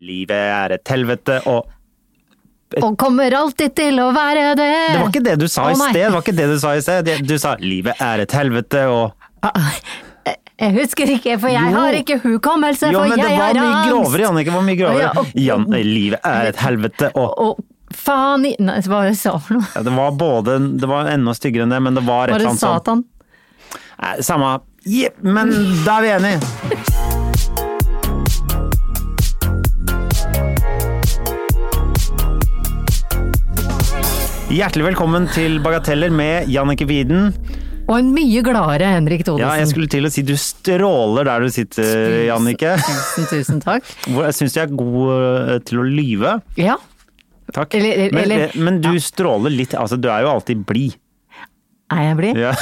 Livet er et helvete, og Og kommer alltid til å være det. Det var ikke det du sa i Eh. Å, nei. sted! Det var ikke det du sa i sted. Det- Du sa 'livet er et helvete', og Jeg husker ikke, for jeg Jo. har ikke hukommelse, Jo, for men det jeg var har mye angst. grovere, Jannicke. det var mye Å, ja, grovere. og- Jan, eh, livet er et helvete, og Og faen i Nei, hva var det jeg sa for noe? Ja, det var både Det var enda styggere enn det, men det var et Var eller det annet sånn Satan? Nei, Samme. Je- men da er vi enige! Hjertelig velkommen til Bagateller med Jannicke Wieden. Og en mye gladere Henrik Thodesen. Ja, jeg skulle til å si du stråler der du sitter, Jannicke. Tusen, tusen takk. Hvor- Jeg syns jeg er god eh, til å lyve. Ja. Takk. Eller- eller- men, eh, eller- men du stråler litt. Altså, du er jo alltid blid. Er jeg blid? Ja.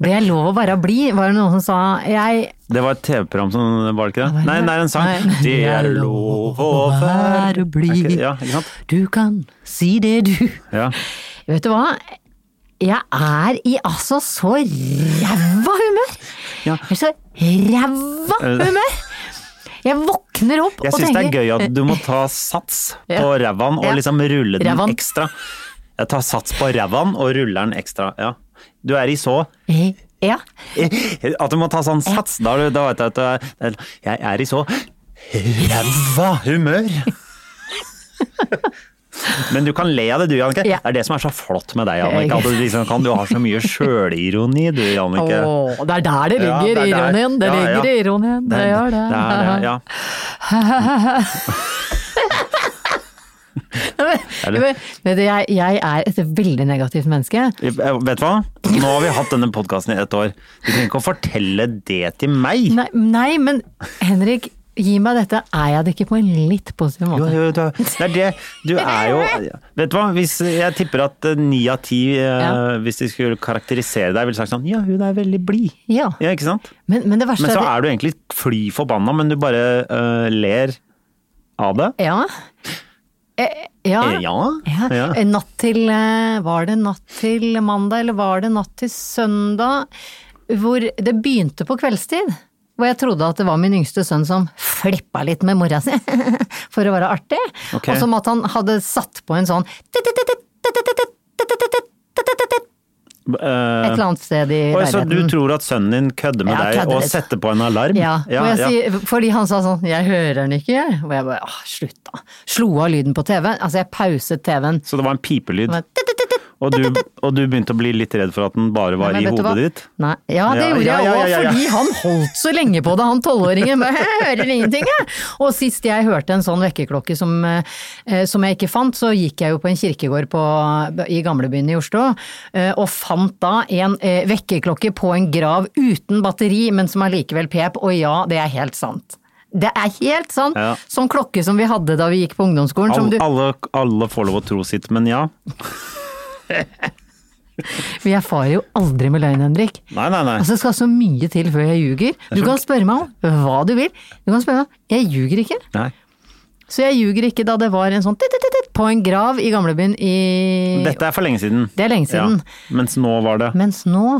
Det er lov å være blid, var det noen som sa. Jeg Det var et TV-program som Var det ikke det? det- Nei, det er en sang. Nei, men Det er lov å være blid. Er ikke- Ja, ikke sant? Du kan si det, du. Ja. Vet du hva? Jeg er i altså så ræva humør! Ja. Jeg er så ræva humør! Jeg våkner opp Jeg og syns tenker det er gøy at du må ta sats Ja. på rævaen Ja. og liksom rulle den Rævaen. ekstra. Jeg tar sats på rævaen og ruller den ekstra. Ja. Du er i så Eh, Ja. At du må ta sånn sats, da, er du- da vet jeg at du er eller, Jeg er i så ræva humør! Men du kan le av det du, Jannicke. Ja. Det er det som er så flott med deg, Jannicke. At du, liksom kan, du har så mye sjølironi, du, Jannicke. Åh, det er der det Ja, ligger, det er der. ironien. Det Ja, ja. ligger i ironien. Det gjør det. Det er, det, ja. Men- men- men det- jeg, jeg er et veldig negativt menneske. Jeg- jeg- Vet du hva? Nå har vi hatt denne podkasten i ett år. Du trenger ikke å fortelle det til meg. Nei, nei, men Henrik, gi meg dette. Er jeg det ikke på en litt Jo, positiv måte? jo, du, er- det er det. Du er jo Vet du hva, hvis jeg tipper at eh, ni av ti, eh, Ja. hvis de skulle karakterisere deg, ville sagt sånn Ja, hun er veldig blid. Ja. Ja, ikke sant? Men, men det verste Men så at- er du egentlig fly forbanna, men du bare eh, ler av det. Ja. Eh, ja. Eh, ja. Ja. Ja. Eh, Natt til eh, Var det natt til mandag, eller var det natt til søndag? Hvor det begynte på kveldstid. Hvor jeg trodde at det var min yngste sønn som flippa litt med mora si for å være artig. Ok. Og som at han hadde satt på en sånn Et Eh, eller annet sted i oi, så du leiligheten. tror at sønnen din kødder med Ja, deg kødder og litt. setter på en alarm? Ja, og jeg sier, fordi han sa sånn 'jeg hører den ikke', jeg». og jeg bare åh, slutt da. Slo av lyden på TV, altså jeg pauset TV-en. Så det var en pipelyd. Men- Og du, og du begynte å bli litt redd for at den bare var Nei, men i vet du hodet hva? ditt? Nei, ja, det Ja, gjorde ja, jeg ja, òg, ja, ja. fordi han holdt så lenge på det, han tolvåringen. bare, Jeg hører ingenting, jeg. Og sist jeg hørte en sånn vekkerklokke som, eh, som jeg ikke fant, så gikk jeg jo på en kirkegård på, i gamlebyen i Oslo, eh, og fant da en eh, vekkerklokke på en grav uten batteri, men som allikevel pep, og ja, det er helt sant. Det er helt sant! Ja. Sånn klokke som vi hadde da vi gikk på ungdomsskolen. som Alle, du, alle, alle får lov å tro sitt, men ja. vi erfarer jo aldri med løgn, Henrik. Nei, nei, nei. Altså, det skal så mye til før jeg ljuger. Du kan spørre meg om hva du vil. Du kan spørre meg om Jeg ljuger ikke. nei. Så jeg ljuger ikke da det var en sånn titt-titt-titt på en grav i gamlebyen i Dette er for lenge siden. Det er lenge siden. Ja. Mens nå var det Mens nå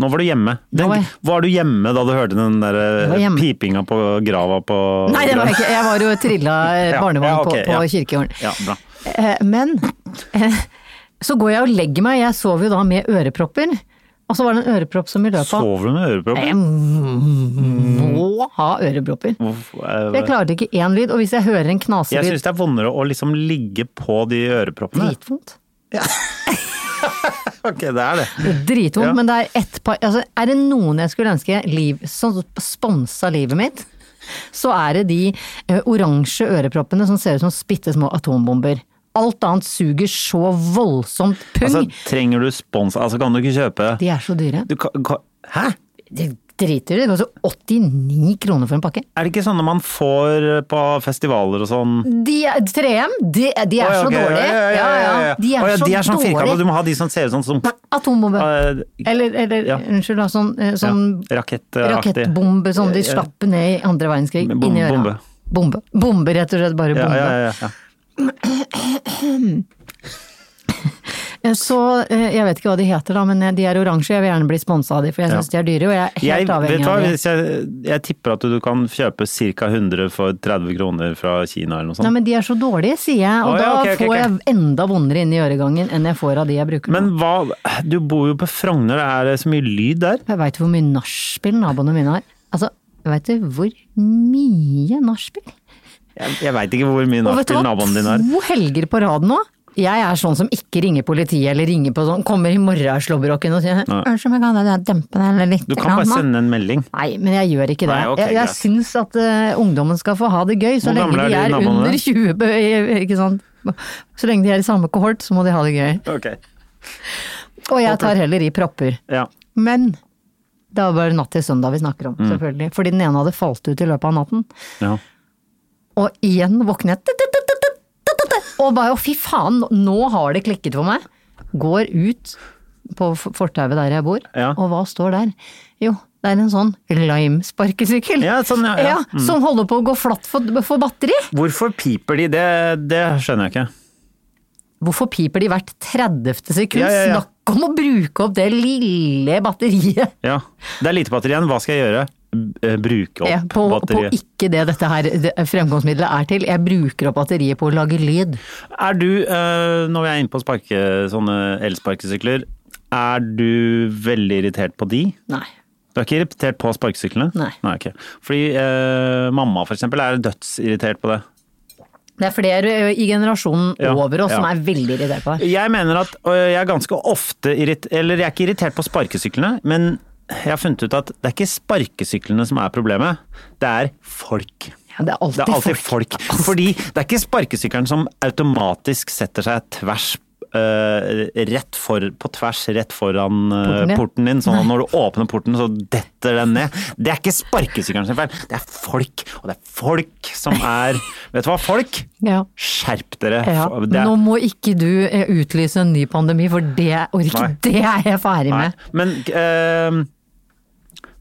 Nå var du hjemme. Den, var jeg- var du hjemme da du hørte den der var eh, hjemme. pipinga på grava på Nei, det var jeg ikke. Jeg var jo trilla eh, Ja, barnevogn ja, ok, på, på ja. kirkegården. Ja, bra. Eh, Men eh, så går jeg og legger meg. Jeg sover jo da med ørepropper. Og så var det en ørepropp som i løpet av Sover du med ørepropper? Jeg må ha ørepropper. Hvorfor- eh, Jeg klarte ikke én lyd. Og hvis jeg hører en Jeg knaselyd syns det er vondere å liksom ligge på de øreproppene. Dritvondt. Ok, det er det. Dritvondt, Ja. men det er ett par altså, Er det noen jeg skulle ønske liv, som sponsa livet mitt, så er det de eh, oransje øreproppene som ser ut som bitte små atombomber. Alt annet suger så voldsomt pung. Altså, trenger du spons? Altså, kan du ikke kjøpe de er så dyre. du kan, kan, Hæ? De, driter i det. Det koster 89 kroner for en pakke. Er det ikke sånne man får eh, på festivaler og sånn? De er, 3M, de, de er Å, ja, så ok. Ja, dårlige. ja, ja, ja, ja. De er Å, ja, så de er sånn firkanta, du dårlige. må ha de som ser ut sånn som Atombombe. eh, Eller, eller Ja. unnskyld, da, sånn, eh, ja, sånn rakettaktig. rakettbombe som de Ja, ja. slapp ned i andre verdenskrig. Bom- inn i øra. bombe. Bombe. Bombe, rett og slett. Bare Ja, bombe. ja, ja, ja. Eh, Så eh, jeg vet ikke hva de heter da, men eh, de er oransje. Jeg vil gjerne bli sponsa av de, for jeg syns de er dyre, og jeg er Jeg, helt vet avhengig du hva, av de. hvis jeg, jeg tipper at du kan kjøpe ca. 100 for 30 kroner fra Kina eller noe Nei, sånt. men de er så dårlige, sier jeg, Å, og ja, da ok, ok, får ok. jeg enda vondere inn i øregangen enn jeg får av de jeg bruker. Men nå. hva, du bor jo på Frogner, er det så mye lyd der? Jeg veit hvor mye nachspiel naboene mine har. Altså, veit du hvor mye nachspiel? Jeg, jeg veit ikke hvor mye Og vet du nachspiel hva, naboen din har. to helger på rad nå. Jeg er sånn som ikke ringer politiet eller ringer på sånn, kommer i morgen slåbroken og sier unnskyld, men kan jeg dempe den eller litt? Du kan bare grann, da?» sende en melding. Nei, men jeg gjør ikke det. Nei, ok, jeg jeg greit. syns at eh, ungdommen skal få ha det gøy, så Hvor lenge gamle de er er de naboene? under 20, bø- ikke sant. Så lenge de er i samme kohort, så må de ha det gøy. Ok, Og jeg tar heller i propper. ja. Men det var bare natt til søndag vi snakker om, Mm. selvfølgelig. Fordi den ene hadde falt ut i løpet av natten. ja. Og igjen våkner jeg tut, tut, tut, tut, tut, tut, tut, Og bare å fy faen, nå har det klikket for meg. Går ut på f- fortauet der jeg bor, Ja. og hva står der? Jo, det er en sånn lime-sparkesykkel. Ja, sånn, ja, ja. Mm. Som holder på å gå flatt for, for batteri. Hvorfor piper de? Det, det skjønner jeg ikke. Hvorfor piper de hvert 30. sekund? Ja, ja, ja. Snakk om å bruke opp det lille batteriet Ja. Det er lite batteri igjen, hva skal jeg gjøre? B- eh, Bruke Ja, opp på, på batteriet. ikke det dette her det, fremkomstmiddelet er til. Jeg bruker opp batteriet på å lage lyd. Er du, eh, når vi er inne på sparke, sånne elsparkesykler, er du veldig irritert på de? Nei. Du er ikke irritert på sparkesyklene? Nei. ok. Fordi eh, mamma for eksempel er dødsirritert på det. Det er flere ø, i generasjonen Ja, over oss som ja. er veldig irritert på det. Jeg mener at øh, jeg er ganske ofte irrit... Eller jeg er ikke irritert på sparkesyklene, men jeg har funnet ut at det er ikke sparkesyklene som er problemet, det er folk. Ja, det er alltid, Det er alltid folk. folk. Fordi det er ikke sparkesykkelen som automatisk setter seg tvers øh, rett for, på tvers rett foran øh, Porten, ja. porten din, sånn at når du åpner porten, så detter den ned. Det er ikke sparkesykkelen sin feil, det er folk. Og det er folk som er Vet du hva, folk? Ja. Skjerp dere. Ja. Det er- Nå må ikke du ø, utlyse en ny pandemi, for det orker Nei. Det er jeg ferdig Nei. med. Men eh,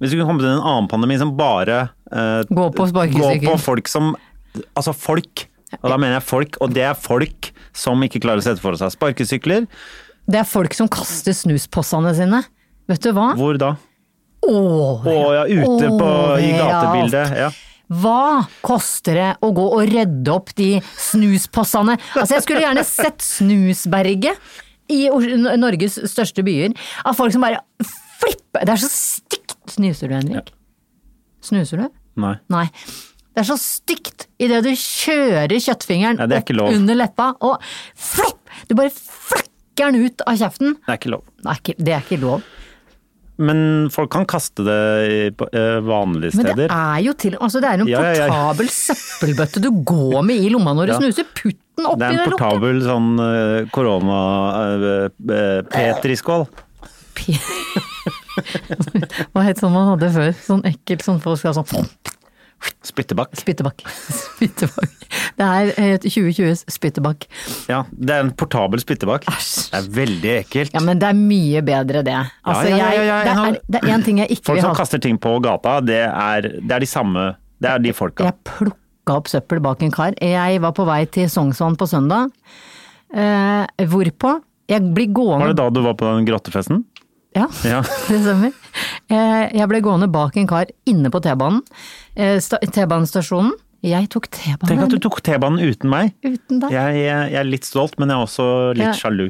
hvis du kunne komme til en annen pandemi som bare eh, Gå på sparkesykkel. Gå på folk som Altså folk. Og da mener jeg folk, og det er folk som ikke klarer å sette for seg sparkesykler. Det er folk som kaster snuspossene sine. Vet du hva? Hvor da? Åh, Å ja, ute på, i Overalt. gatebildet. Ja. Hva koster det å gå og redde opp de snuspossene? Altså, jeg skulle gjerne sett Snusberget i Os- N- Norges største byer. Av folk som bare flipper Det er så stygt! Snuser du, Henrik? Snuser du? Nei. Nei. Det er så stygt idet du kjører kjøttfingeren Ja, det er ikke opp lov. under leppa og flipp! Du bare flikker den ut av kjeften. Det er ikke lov. Det er ikke, det er ikke lov. Men folk kan kaste det i, på, eh, vanlige Men det steder. er jo til Altså, det er jo en Ja, ja, ja. portabel søppelbøtte du går med i lomma når du Ja. snuser. Putt den Det oppi er det en lokket. portabel sånn eh, korona eh, eh, petriskål. Hva het sånn man hadde før? Sånn ekkelt sånn folk skal ha sånn Spyttebakk. spyttebakk. Spyttebakk. Det er eh, 2020s spyttebakk. Ja, det er en portabel spyttebakk. Æsj. Det er veldig ekkelt. Ja, men det er mye bedre det. Altså, ja, ja, ja, ja, jeg, ja. det, er, det er en ting jeg ikke Folk vil som ha. kaster ting på gata, det er, det er de samme Det er de folka. Jeg plukka opp søppel bak en kar. Jeg var på vei til Sognsvann på søndag. Eh, hvorpå jeg blir gående Var det da du var på den grottefesten? Ja, Ja. det stemmer. Eh, Jeg ble gående bak en kar inne på T-banen. eh, sta- T-banestasjonen. Jeg tok Tenk at du T-banen tok T-banen uten meg. uten deg. Jeg, jeg, jeg er litt stolt, men jeg er også litt Ja. sjalu.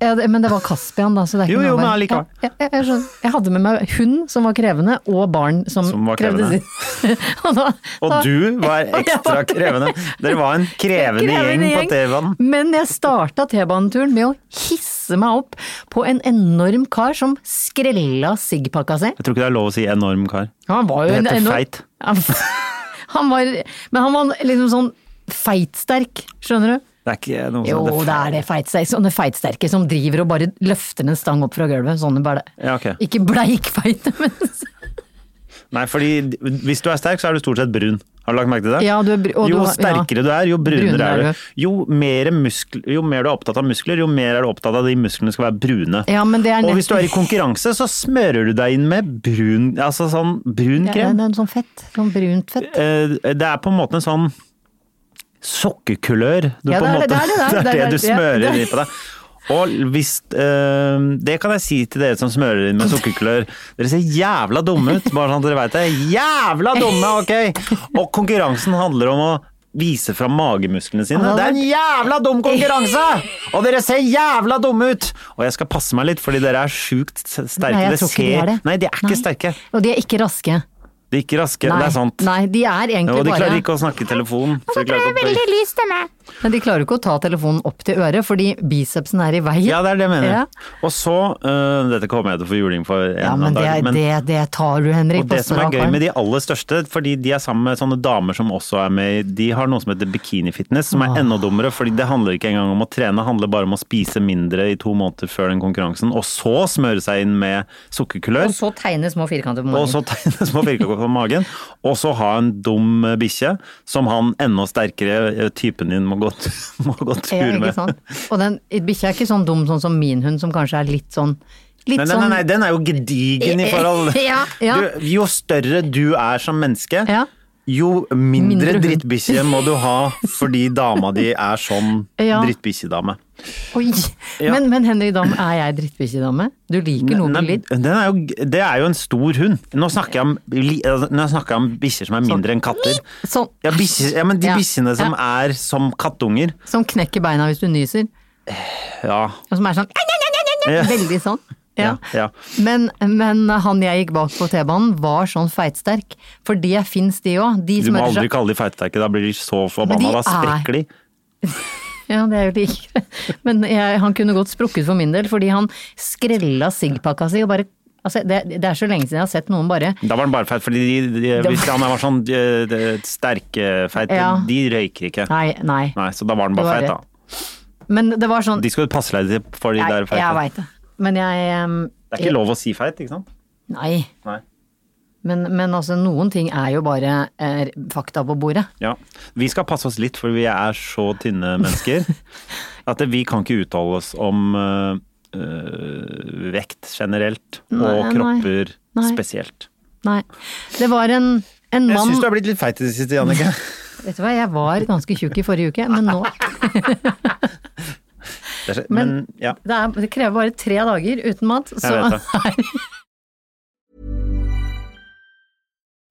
Ja, det- men det var Caspian, da. Så det er ikke Jo, jo, noe å men være- allikevel. Ja, ja, jeg, skjønner. jeg hadde med meg hund som var krevende, og barn som, Som var krevde krevende. sitt. og da, Og da- du var ekstra krevende. Dere var en krevende, gjeng på T-banen. Men jeg starta T-baneturen med å hisse meg opp på en enorm kar som skrella siggpakka si. Jeg tror ikke det er lov å si enorm kar. Han var jo Det en heter enorm feit. Han, han var Men han var liksom sånn feitsterk, skjønner du? Det er ikke noe Jo, som det er det feitsterke, sånne feitsterke som driver og bare løfter en stang opp fra gulvet. Sånne bare Ja, ok. Ikke bleikfeite, men Nei, fordi hvis du er sterk, så er du stort sett brun. Har du lagt merke til det? Ja, du er br- og jo du har- ja. sterkere du er, jo brunere Brunere er er du. Jo mer, muskler, jo mer du er opptatt av muskler, jo mer er du opptatt av at de musklene skal være brune. Ja, men det er og nett- hvis du er i konkurranse, så smører du deg inn med brun, altså sånn brun Ja, krem. det er en sånn fett. Sånn brunt fett. Eh, Det er på en måte en sånn sokkekulør. Du Ja, på en det er det, måte, det er det, det er det, du ja, smører det er- inn på deg. Og hvis eh, Det kan jeg si til dere som smører inn med sukkerklør. Dere ser jævla dumme ut, bare sånn at dere veit det. Jævla dumme, ok! Og konkurransen handler om å vise fram magemusklene sine. Det er en jævla dum konkurranse! Og dere ser jævla dumme ut! Og jeg skal passe meg litt, fordi dere er sjukt s- sterke. Nei, jeg Dere tror ikke de ser- er det. Nei, de er ikke sterke. Og de er ikke raske. De er ikke raske. Nei, Det er sant. Nei, de er egentlig Og de bare klarer ikke å snakke i telefonen. så de klarer ikke å- Men de klarer jo ikke å ta telefonen opp til øret, fordi bicepsen er i veien. Ja, det er det jeg mener. Ja. Og så øh, Dette kommer jeg til å få juling for en Ja, annen men det, dag. men- det, det tar du, Henrik. og det på som er strak gøy arm. med de aller største, fordi de er sammen med sånne damer som også er med i- De har noe som heter bikinifitness, som er enda dummere, fordi det handler ikke engang om å trene, det handler bare om å spise mindre i to måneder før den konkurransen, og så smøre seg inn med Og sukkerkulør. så tegne små firkanter på Og magen. så tegne små firkanter på magen, og så ha en dum eh, bikkje som han enda sterkere eh, typen din må gå, t- må gå Ja, tur ikke med. sant? Og den bikkja er ikke sånn dum sånn som min hund, som kanskje er litt sånn Litt Nei, nei, nei, nei, den er jo gedigen i forhold Ja, ja. Du, Jo større du er som menneske, Ja. jo mindre, Mindre hund. drittbikkje må du ha fordi dama di er sånn Ja. drittbikkjedame. sånn Oi! Ja. Men, men Henrik Dam, er jeg drittbikkjedame? Du liker noe Nei, med litt den er jo, det er jo en stor hund. Nå snakker jeg om, li- altså, nå snakker jeg om bikkjer som er mindre enn katter. sånn Ja, bikkjer- ja, men de Ja. bikkjene som Ja. er som kattunger, som knekker beina hvis du nyser, ja. og som er sånn «Ai, ai, ai, ai, ai», Ja. Veldig sånn. Ja, Ja. ja. Men, men han jeg gikk bak på T-banen var sånn feitsterk, for det fins de òg. De Du må smører aldri seg kalle de feitsterke, da blir de så Men de forbanna. Da sprekker de. Ja, det er jo like greit. Men jeg, han kunne godt sprukket for min del, fordi han skrella sigpakka si og bare altså, det, det er så lenge siden jeg har sett noen bare Da var den bare feit, fordi de, de, Det- hvis han var sånn eh, de- sterkefeit, Ja. de røyker ikke. Nei, nei. Nei, så da var den bare Det feit, var da. Men det var sånn De skal jo passe deg til for de Nei, der feite. jeg veit det. Men jeg em, Det er ikke lov å si feit, ikke sant? Nei. Nei. Men, men altså, noen ting er jo bare er, fakta på bordet. Ja. Vi skal passe oss litt, for vi er så tynne mennesker at vi kan ikke uttale oss om eh, eh, vekt generelt, og Nei, nei. kropper Nei. spesielt. Nei. Det var en, en Jeg mann syns du har blitt litt feit i det siste, Jannicke. Vet du hva, jeg var ganske tjukk i forrige uke, men nå Det er så- Men, Men- ja. Det, er, det krever bare tre dager uten mat, så vet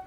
All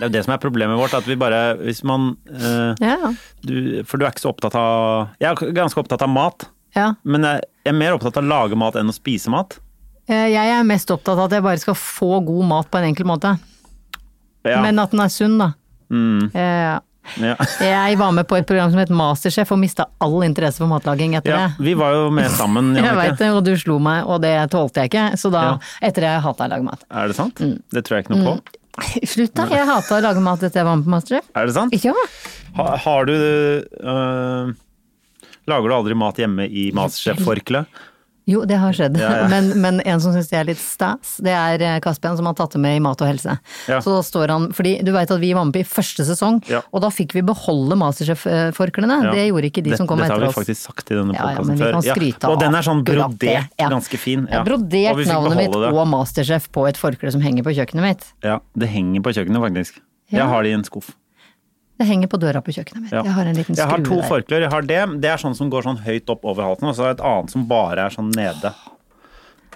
Det er jo det som er problemet vårt, at vi bare Hvis man eh, Ja, ja. du, For du er ikke så opptatt av Jeg er ganske opptatt av mat, ja. men jeg er mer opptatt av å lage mat enn å spise mat. Eh, Jeg er mest opptatt av at jeg bare skal få god mat på en enkel måte. Ja. Mm. Men at den er sunn, da. Eh, ja. Jeg var med på et program som het Masterchef og mista all interesse for matlaging etter Ja, det. vi var jo med sammen, Jeg Jannicke. veit det, og du slo meg, og det tålte jeg ikke. Så da, Ja. etter det, hata jeg å lage mat. Er det sant? Mm. Det tror jeg ikke noe på. Slutt da, jeg hata å lage mat etter jeg var med på Masterchef. Er det sant? Ja. Ha, har du øh, Lager du aldri mat hjemme i Masterchef-forkle? Jo, det har skjedd. Ja, ja. Men, men en som syns det er litt stas, det er eh, Caspian som har tatt det med i Mat og helse. Ja. Så da står han, fordi du veit at vi var med på i første sesong, Ja. og da fikk vi beholde Masterchef-forklærne. Ja. Det gjorde ikke de Det- som kom dette etter har oss. vi faktisk sagt i denne Ja, ja, podcasten men vi før. kan skryte og den er sånn akkurat brodert, det, ja. ganske fin. Jeg Ja. har brodert Og vi fikk navnet mitt beholde det. og Masterchef på et forkle som henger på kjøkkenet mitt. Ja, det henger på kjøkkenet faktisk. Ja. Jeg har det i en skuff. Det henger på døra på kjøkkenet mitt. Ja. Jeg har en liten jeg har to skrue der. forklær. Jeg har det. Det er sånn som går sånn høyt opp over halsen, og så er det et annet som bare er sånn nede.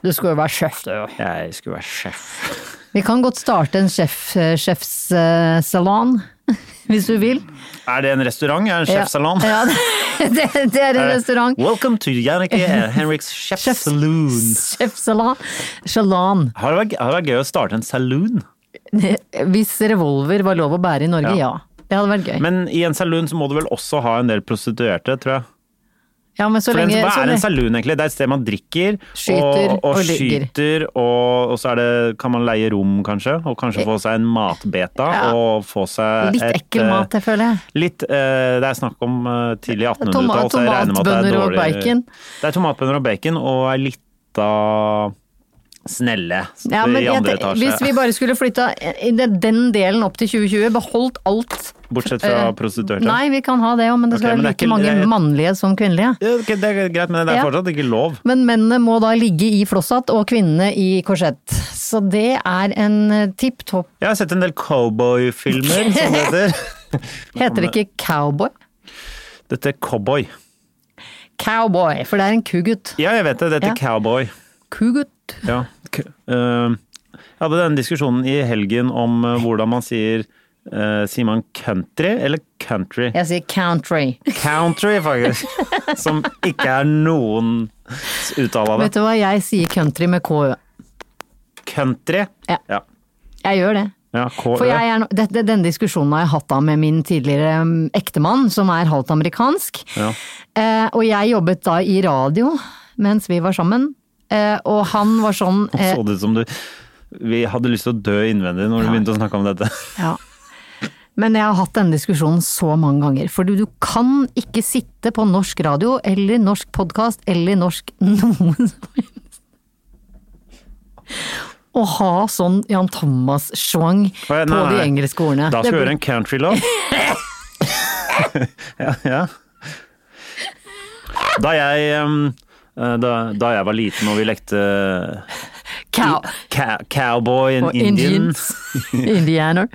Du skulle jo være sjef, du. Jeg skulle være sjef. Vi kan godt starte en sjef, eh, sjefssalon, hvis du vil. Er det en restaurant? Er det en sjefsalong? Ja, ja det, det er en Er det- restaurant. Welcome to Jannicke Henriks Chef Chef's- Saloon. Sjefssalon. Sjalan. Har det, vært, har det vært gøy å starte en saloon? Hvis revolver var lov å bære i Norge, ja. Ja. Det hadde vært gøy. Men i en saloon så må du vel også ha en del prostituerte, tror jeg. ja, men så For en, lenge, hva så er en lenge saloon egentlig? Det er et sted man drikker Skyter og, og, og ligger. skyter, og, og så er det, kan man leie rom kanskje, og kanskje få seg en matbeta Eh. Ja. og få seg Litt et, ekkel mat, eh, jeg føler jeg. Litt, eh, det er snakk om eh, tidlig Toma- 1800-tall, så jeg regner med at det er tomatbønner og dårlig bacon. Det er tomatbønner og bacon og ei lita snelle Ja, men i jeg andre tenk- Hvis vi etasje. bare skulle flytta i den den delen opp til 2020, beholdt alt Bortsett fra Eh, prostituerte. Nei, vi kan ha det òg, men det Ok, skal men det er være like ikke- mange det er- mannlige som kvinnelige. Ja, ok, Det er greit, men det er Ja. fortsatt ikke lov. Men mennene må da ligge i flosshatt og kvinnene i korsett. Så det er en eh, tipp topp Jeg har sett en del cowboyfilmer, som det heter. Heter det ikke cowboy? Dette er cowboy. Cowboy, for det er en kugutt. Ja, jeg vet det. Dette Ja. er cowboy. Kugutt. Ja. K- eh, jeg hadde denne diskusjonen i helgen om eh, hvordan man sier eh, Sier man country eller country? Jeg sier country. Country, faktisk. Som ikke er noen uttale av det. Vet du hva, jeg sier country med KØ. Country. Ja. Ja. Jeg gjør det. Ja, K- For jeg er, no- dette, denne diskusjonen har jeg hatt da med min tidligere mm, ektemann, som er halvt amerikansk. Ja. Eh, og jeg jobbet da i radio mens vi var sammen. Eh, og han var sånn eh, Så det ut som du Vi hadde lyst til å dø innvendig når du begynte å snakke om dette. ja. Men jeg har hatt denne diskusjonen så mange ganger. For du, du kan ikke sitte på norsk radio eller norsk podkast eller norsk noen som helst og ha sånn Jan Thomas-schwang på Nei, nei, de nei. engelske ordene. Da Det skal vi blir- høre en countrylåt. ja, ja. Da jeg em, eh, da, da jeg var liten og vi lekte eh, Cow. ca cowboy and Og Indian Indians. Indianer.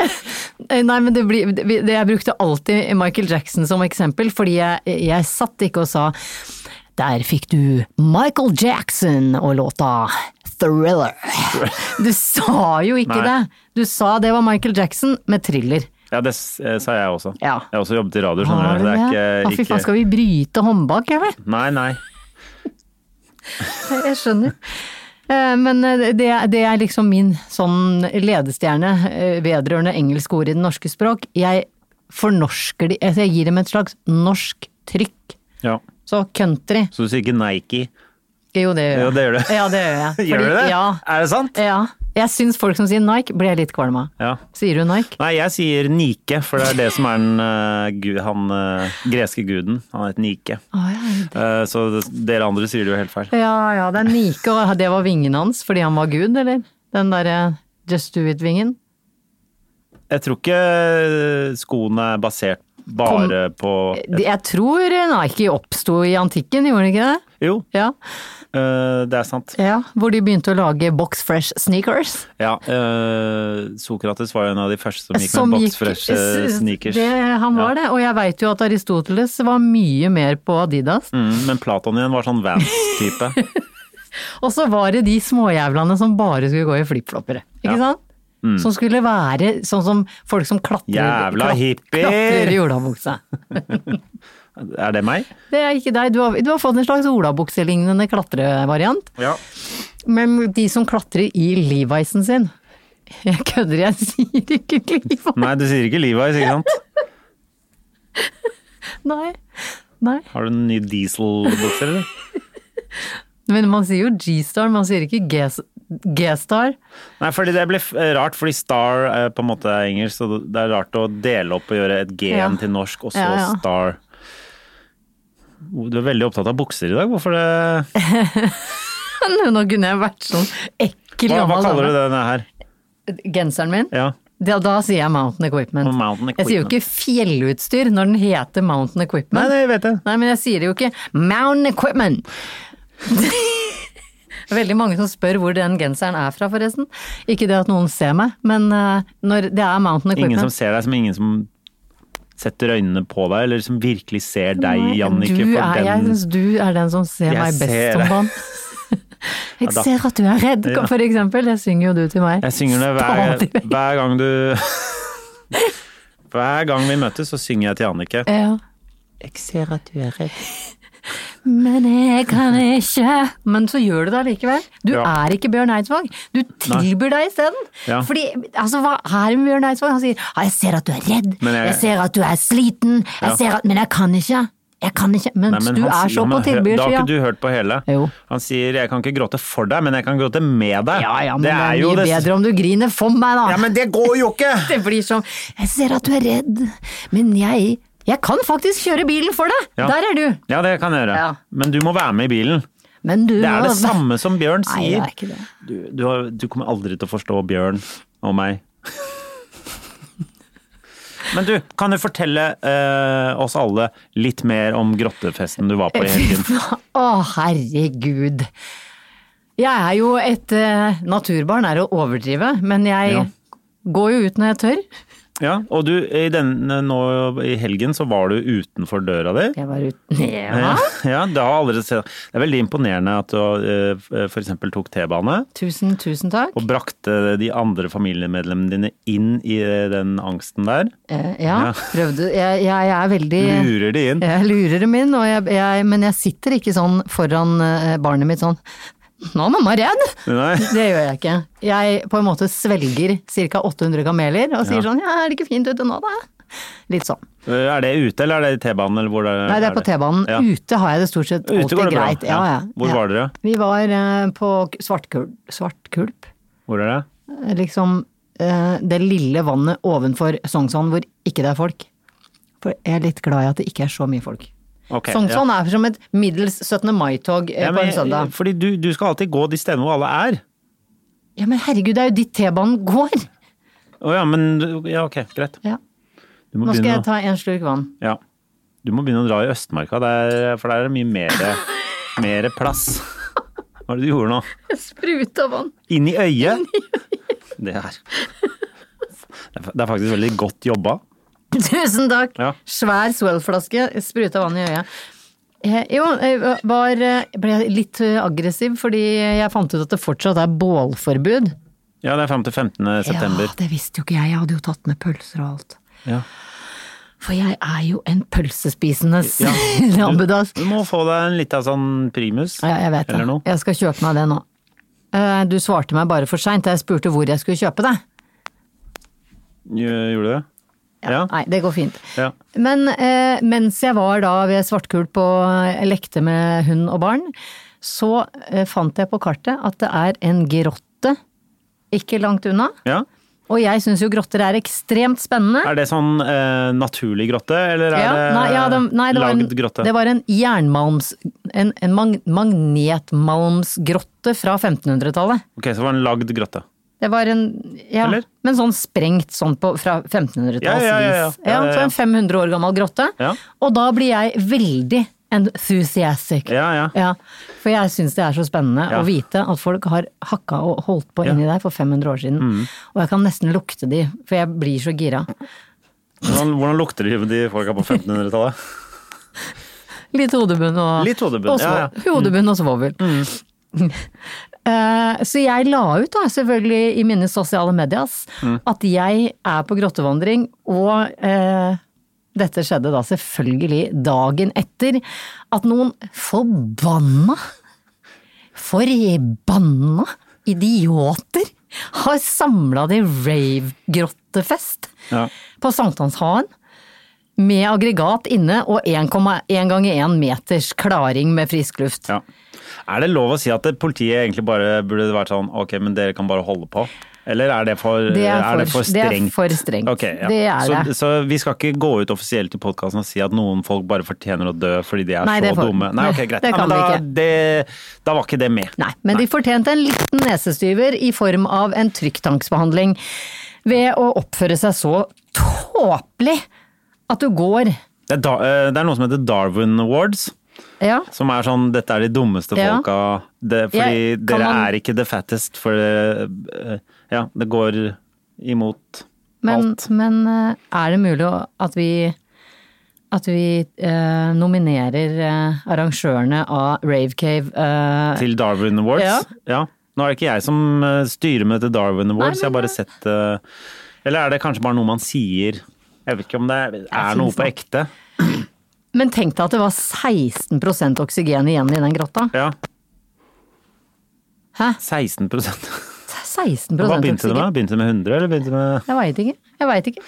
Eh, Nei, men det blir, det, det- jeg brukte alltid Michael Jackson som eksempel, fordi jeg, jeg satt ikke og sa Der fikk du Michael Jackson og låta Thriller. Du sa jo ikke Nei. det. Du sa det var Michael Jackson med thriller. Ja, det s- eh, sa jeg også. Ja. Jeg har også jobbet i radio, skjønner Har du. du Det det? er Å, ikke, fy faen, ikke skal vi bryte håndbak, eller? Nei, nei. Jeg skjønner. Eh, Men eh, det, er- det er liksom min sånn ledestjerne eh, vedrørende engelske ord i det norske språk. Jeg fornorsker de, altså jeg gir dem et slags norsk trykk. Ja. Så country. Så du sier ikke Nike? Jo, det gjør jeg. Jo, det gjør du. Ja, det gjør jeg. Gjør du Fordi- det? Ja. Er det sant? ja. Jeg syns folk som sier Nike, blir jeg litt kvalm av. Ja. Sier du Nike? Nei, jeg sier Nike, for det er det som er den eh, gu- han, eh, greske guden. Han heter Nike. Å, ja. Eh, så det, dere andre sier det jo helt feil. ja ja, det er Nike, og det var vingen hans fordi han var gud, eller? Den derre Just Do It-vingen. Jeg tror ikke eh, skoene er basert bare på De- Jeg tror Nike oppsto i antikken, gjorde den ikke det? Jo, Ja. eh, det er sant. Ja, hvor de begynte å lage Box Fresh sneakers. Ja, eh, Sokrates var jo en av de første som gikk Som med gikk- boxfresh eh, sneakers. Det, han var det, og jeg veit jo at Aristoteles var mye mer på Adidas. Mm, men Platon igjen var sånn Vans-type. Og så var det de småjævlene som bare skulle gå i flipflopper, ikke Ja. Mm. sant? Som skulle være sånn som folk som klatrer, Jævla klat- hippier! klatrer i olabuksa. er det meg? Det er ikke deg, du har, du har fått en slags olabukselignende klatrevariant. Ja. Men de som klatrer i Levi'sen sin Jeg kødder, jeg sier ikke Levi. Nei, du sier ikke Levi's, ikke sant? Nei. Nei. Har du en ny dieselbukse, eller? Men man sier jo G-star, man sier ikke G- G-star. Nei, fordi det blir f- rart, fordi star eh, på en måte er engelsk, så det er rart å dele opp og gjøre et G-en Ja. til norsk, og så Ja, ja. star. Du er veldig opptatt av bukser i dag. Hvorfor det? Nå kunne jeg vært sånn ekkel Hva, hva gammel kaller du dame. denne her? Genseren min? Ja. Da, da sier jeg Mountain Equipment. Og Mountain Jeg sier jo ikke fjellutstyr når den heter Mountain Nei, Equipment. det vet jeg. Nei, men jeg sier det jo ikke. Mountain Equipment! Veldig mange som spør hvor den genseren er fra, forresten. Ikke det at noen ser meg, men eh, når det er Mountain Equipment Ingen som ser deg som ingen som setter øynene på deg, eller som virkelig ser deg, Nei, Jannicke, du for er, Jeg den syns du er den som ser Jeg meg best ser om det. dagen. Jeg da- ser at du er redd, Ja. for eksempel. Det synger jo du til meg. Jeg synger det Stadig hver, vekk. hver gang du Hver gang vi møtes, så synger jeg til Jannicke. Ja. Jeg ser at du er redd. Men jeg kan ikke Men så gjør du det allikevel. Du Ja. er ikke Bjørn Eidsvåg. Du tilbyr deg isteden. Ja. Fordi, altså, hva er det med Bjørn Eidsvåg? Han sier «Ja, 'jeg ser at du er redd', Men 'jeg, jeg- ser at du er sliten', jeg Ja. ser at 'men jeg kan ikke'. Jeg kan ikke. Mens du er så på Da har tilbydersida. ikke du hørt på hele. Jo. Han sier 'jeg kan ikke gråte for deg, men jeg kan gråte med deg'. Ja ja, men det er, jo mye det- bedre om du griner for meg, da. Ja, men det går jo ikke! Det blir som Jeg ser at du er redd, men jeg Jeg kan faktisk kjøre bilen for deg! Ja. Der er du! Ja, det kan jeg gjøre. Ja. Men du må være med i bilen. Men du Det er det må- samme som Bjørn Nei, det sier. er ikke det. Du, du, har, du kommer aldri til å forstå Bjørn og meg. Men du, kan du fortelle eh, oss alle litt mer om grottefesten du var på i helgen? Å, herregud. Jeg er jo et eh, Naturbarn er å overdrive, men jeg Ja. går jo ut når jeg tør. Ja, og du, i denne, nå i helgen så var du utenfor døra di. Jeg var ute Ja, ja. ja, det, har jeg aldri sett. det er veldig imponerende at du eh, f.eks. tok T-bane Tusen, tusen takk. og brakte de andre familiemedlemmene dine inn i eh, den angsten der. Eh, ja, Ja. prøvde Jeg, jeg, jeg er veldig Lurer de inn. Jeg lurer dem inn, og jeg, jeg, men jeg sitter ikke sånn foran eh, barnet mitt sånn Nå er mamma redd! Nei. Det gjør jeg ikke. Jeg på en måte svelger ca. 800 kameler og sier Ja. sånn ja, er det ikke fint ute nå da? Litt sånn. Er det ute, eller er det i T-banen? eller hvor Nei, det er på T-banen. Ja. Ute har jeg det stort sett Ute alltid går det bra. greit. Ja, Ja. ja. Hvor ja. var dere? Vi var eh, på K- Svartkulp. Svartkulp. Hvor er det? Eh, Liksom eh, det lille vannet ovenfor Sognsvann hvor ikke det er folk. For jeg er litt glad i at det ikke er så mye folk. Ok, ja. Sognsvann Sånn, er som et middels 17. mai-tog eh, Ja, på men- en søndag. Fordi du, du skal alltid gå de stedene hvor alle er. Ja, men herregud, det er jo dit T-banen går! Å ja, men ja, ok, greit. Ja. Du må, Nå skal begynne, jeg ta en slurk vann. å- ja. du må begynne å dra i Østmarka, der, for der er det mye mer, mere plass. Hva er det du gjorde nå? Sprut av vann. Inn i øyet? Det er Det er- det er faktisk veldig godt jobba. Tusen takk! Ja. Svær Swell-flaske, spruta vann i øyet. Eh, Jo, jeg var, eh, ble litt eh, aggressiv fordi jeg fant ut at det fortsatt er bålforbud. Ja, det er fram til 15. september. Ja, det visste jo ikke jeg. Jeg hadde jo tatt med pølser og alt. Ja. For jeg er jo en pølsespisende Ja. Mm. rabbedass. Du må få deg en lita sånn primus. Ja, jeg vet Eller det. noe. Jeg skal kjøpe meg det nå. Eh, Du svarte meg bare for seint da jeg spurte hvor jeg skulle kjøpe det. Gjør- Gjorde du det? Ja. Nei, det går fint. Ja. Men eh, mens jeg var da ved Svartkulp og eh, lekte med hund og barn, så eh, fant jeg på kartet at det er en grotte ikke langt unna. ja. Og jeg syns jo grotter er ekstremt spennende. Er det sånn eh, naturlig grotte, eller er Ja, det nei, ja, det, nei, det var en, lagd grotte? Det var en jernmalms... En, en mag, magnetmalmsgrotte fra 1500-tallet. Ok, så det var en lagd grotte. Det var en Ja, Eller? men sånn sprengt sånn på, fra 1500-tallsvis. Ja, ja, ja, ja. Ja, ja, Så ja. en 500 år gammel grotte. Ja. Og da blir jeg veldig enthusiastic. Ja, ja. Ja, for jeg syns det er så spennende Ja. å vite at folk har hakka og holdt på inni der for 500 år siden. Mm. Og jeg kan nesten lukte de, for jeg blir så gira. Hvordan, hvordan lukter de, de folka på 1500-tallet? Litt hodebunn og Litt hodebunn, og svo- ja, ja. Mm. hodebunn og svovel. Eh, Så jeg la ut da, selvfølgelig i mine sosiale medias, Mm. at jeg er på grottevandring, og eh, dette skjedde da selvfølgelig dagen etter at noen forbanna, forbanna idioter har samla de rave-grottefest Ja. på Sankthanshagen. Med aggregat inne og 1,1 ganger 1 meters klaring med frisk luft. ja. Er det lov å si at det- politiet egentlig bare burde vært sånn ok, men dere kan bare holde på? Eller er det for, Det er for- for det er strengt? for strengt. Ok, ja. Det er så, det. så vi skal ikke gå ut offisielt i podkasten og si at noen folk bare fortjener å dø fordi de er Nei, det så får- dumme? Nei, ok, greit. Det Ja, men kan vi da, ikke. Det, da var ikke det med. Nei, men de fortjente en liten nesestyver i form av en trykktanksbehandling ved å oppføre seg så tåpelig at du går. Det, er da, eh, det er noe som heter Darwin Awards. Ja. Som er sånn 'dette er de dummeste Ja. folka', det, fordi Ja, kan dere man- er ikke the fattest, for eh, ja, det går imot Men, alt. men eh, er det mulig å- at vi, at vi eh, nominerer eh, arrangørene av Rave Cave eh, Til Darwin Awards? Ja. Nå er det ikke jeg som eh, styrer med dette Darwin Awards, jeg men- har bare sett eh, Eller er det kanskje bare noe man sier? Jeg vet ikke om det er, er noe finnes på nok. ekte. Men tenk deg at det var 16 oksygen igjen i den grotta. Ja. Hæ? 16 16 Hva oksygen. begynte det med? Begynte det med 100, eller begynte det med Jeg veit ikke. Jeg vet ikke.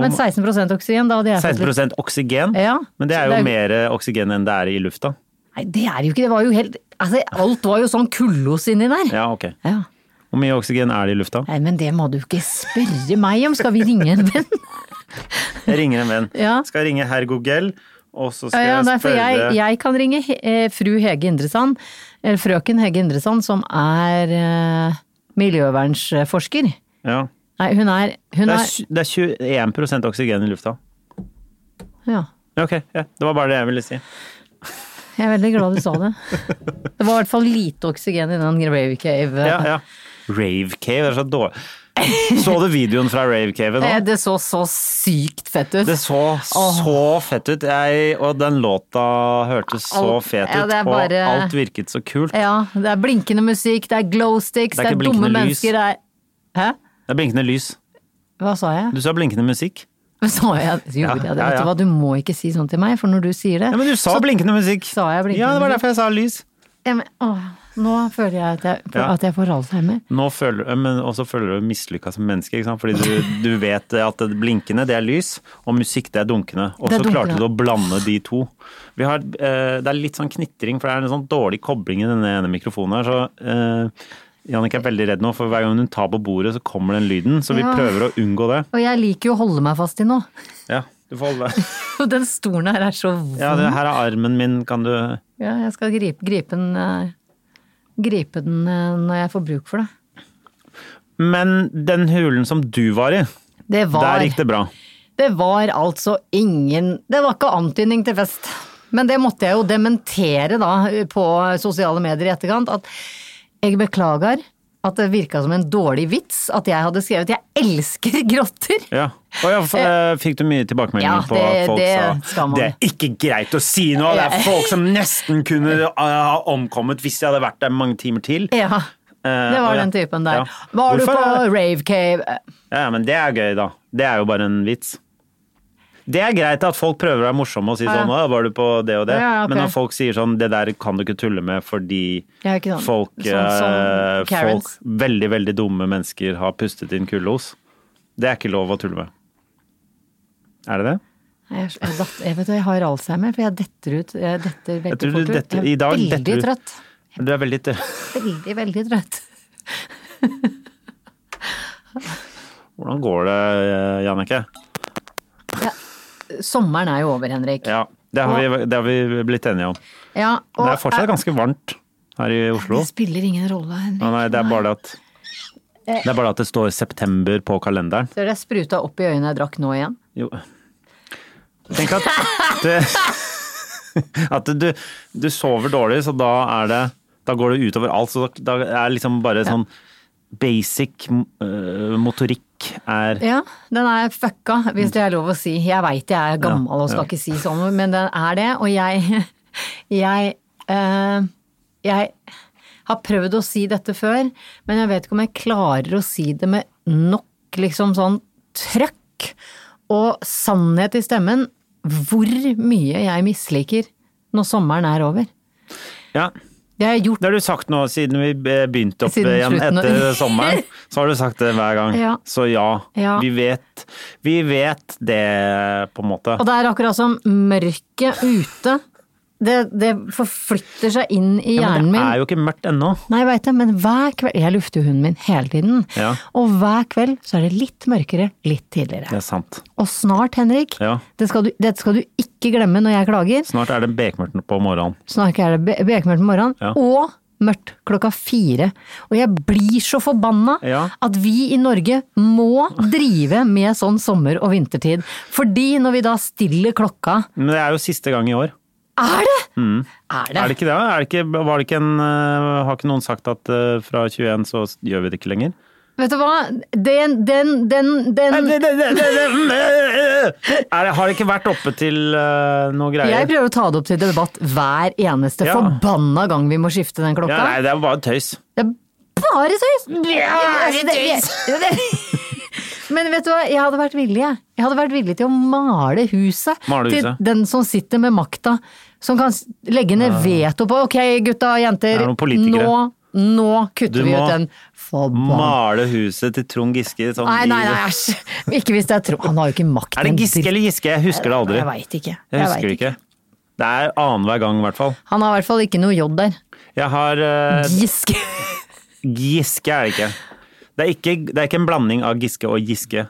Men 16 oksygen, da hadde jeg fått litt- 16 oksygen? Ja. Men det er Det jo er- mer eh, oksygen enn det er i lufta. Nei, det er det jo ikke. Det var jo helt altså, Alt var jo sånn kullos inni der. Ja, ok. Ja. Hvor mye oksygen er det i lufta? Nei, men det må du ikke spørre meg om. Skal vi ringe en venn? Jeg ringer en venn. Ja. Skal ringe herr Gogel, og så Ja, skal ja, nei, jeg for spørre jeg, jeg kan ringe eh, fru Hege Indresand, eller frøken Hege Indresand, som er eh, miljøvernsforsker. Ja. Nei, hun er, hun Det, er, er tj- det er 21 oksygen i lufta. Ja. Ja, Ok, ja. det var bare det jeg ville si. Jeg er veldig glad du sa det. Det var i hvert fall lite oksygen i den Grave Cave. Ja, ja. Rave Cave, det er så dårlig. Så du videoen fra Rave Cave nå? Eh, Det så så sykt fett ut. Det så så fett ut, jeg, og den låta hørtes så Alt- fet ja, ut, det er og bare- alt virket så kult. Ja, det er blinkende musikk, det er glow sticks, Det det er er, ikke dumme blinkende lys. mennesker, det er Hæ? Det er blinkende lys. Hva sa jeg? Du sa blinkende musikk. Sa jeg Gjorde Ja, jeg ja, det? Vet ja. du hva, du må ikke si sånn til meg, for når du sier det Ja, men du sa så- blinkende musikk. Sa jeg blinkende Ja, det var musikk? derfor jeg sa lys. Ja, men, åh, nå føler jeg at jeg, Ja. at jeg får alzheimer. Nå føler, eh, men også føler du mislykka som menneske, ikke sant? fordi du, du vet at det blinkende det er lys, og musikk det er dunkende. Og Det så er klarte dunkende. du å blande de to. Vi har, eh, det er litt sånn knitring, for det er en sånn dårlig kobling i denne ene mikrofonen her. så... Eh, Jannicke er veldig redd nå, for hver gang hun tar på bordet, så kommer den lyden. Så vi Ja. prøver å unngå det. Og jeg liker jo å holde meg fast i nå. Ja, du får holde deg. Og den stolen her er så vond. Ja, det, her er armen min, kan du Ja, jeg skal gripe, gripe den eh, Gripe den eh, når jeg får bruk for det. Men den hulen som du var i, Det var, der gikk det. det bra. var altså ingen Det var ikke antydning til fest. Men det måtte jeg jo dementere da på sosiale medier i etterkant. At jeg beklager at det virka som en dårlig vits at jeg hadde skrevet 'jeg elsker grotter'. Ja. Og ja, f- eh, fikk du mye tilbakemeldinger Ja, på det- at folk det sa skal man. Det er ikke greit å si noe! Det er folk som nesten kunne eh, ha omkommet hvis jeg hadde vært der mange timer til. Eh, Ja, det var den typen der. Ja. Var du Hvorfor på er det- rave cave? Ja, men det er gøy, da. Det er jo bare en vits. Det er greit at folk prøver å være morsomme og si Ja. sånn 'Å, var du på det og det?' Ja, ja, ok. Men når folk sier sånn 'Det der kan du ikke tulle med fordi Ja, ikke sant. folk, Sånn som eh, folk Karens. Veldig, veldig dumme mennesker har pustet inn kullos. Det er ikke lov å tulle med. Er det det? Jeg, er så- jeg, datt, jeg, vet, du, jeg har alzheimer, for jeg detter ut. Jeg detter veldig Jeg tror du fort ut. detter- jeg er i dag veldig detter du- trøtt. Du er veldig tø- Veldig, veldig trøtt. Hvordan går det, eh, Jannicke? Sommeren er jo over, Henrik. Ja, det har, vi, det har vi blitt enige om. Ja, og- Det er fortsatt ganske varmt her i Oslo. Det spiller ingen rolle, Henrik. Ja, nei, det er bare det at det er bare det at det står september på kalenderen. Ser du, jeg spruta opp i øynene jeg drakk nå igjen. Jo. Tenk at det, At du, du sover dårlig, så da er det Da går det utover alt. Så da er liksom bare sånn basic øh, motorikk er Ja, den er fucka, hvis det er lov å si. Jeg veit jeg er gammel og skal ja. ikke si sånn, men den er det. Og jeg Jeg eh, Jeg har prøvd å si dette før, men jeg vet ikke om jeg klarer å si det med nok liksom sånn trøkk og sannhet i stemmen hvor mye jeg misliker når sommeren er over. Ja. Det har jeg gjort Det har du sagt nå siden vi be- begynte opp Siden igjen slutten av- etter sommeren. Så har du sagt det hver gang. Ja. Så ja, Ja. Vi, vet, vi vet det, på en måte. Og det er akkurat som mørket ute. det, det forflytter seg inn i Ja, hjernen men det min. er jo ikke mørkt ennå. Nei, jeg vet det, men hver kveld Jeg lufter jo hunden min hele tiden. Ja. Og hver kveld så er det litt mørkere, litt tidligere. Det er sant. Og snart, Henrik, Ja. det skal du, dette skal du ikke glemme når jeg klager. Snart er det bekmørkt på morgenen. Snart er det be- bekmørkt om morgenen, Ja. og mørkt klokka fire. Og jeg blir så forbanna Ja. at vi i Norge må drive med sånn sommer- og vintertid. Fordi når vi da stiller klokka Men det er jo siste gang i år. Er det?! Er det? Mm. Er det ikke det? Er det ikke, var det ikke en, øh, har ikke noen sagt at øh, fra 21 så s- gjør vi det ikke lenger? Vet du hva, den, den, den, den Er det, har det ikke vært oppe til øh, noe greier? Jeg prøver å ta det opp til debatt hver eneste Ja. forbanna gang vi må skifte den klokka. ja, nei, det er bare tøys. Det er bare tøys! Altså, det- det- det- Men vet du hva, jeg hadde vært villig, jeg. Jeg hadde vært villig til å male huset. Male Til huset. Ah. den som sitter med makta. Som kan s- legge ned veto på ok gutta, jenter, Det er noen politikere. nå, nå kutter Du vi må ut den forbanna Male huset til Trond Giske sånn Nei, nei, i- nei, æsj! Ikke hvis det er tro... Han har jo ikke makt. Er det en Giske dritt. eller Giske? Jeg husker det aldri. Jeg veit ikke. Jeg Jeg husker vet det ikke. Det er annenhver gang, i hvert fall. Han har i hvert fall ikke noe J der. Jeg har øh, Giske. Giske er det ikke. Det er ikke, det er ikke en blanding av Giske og Giske.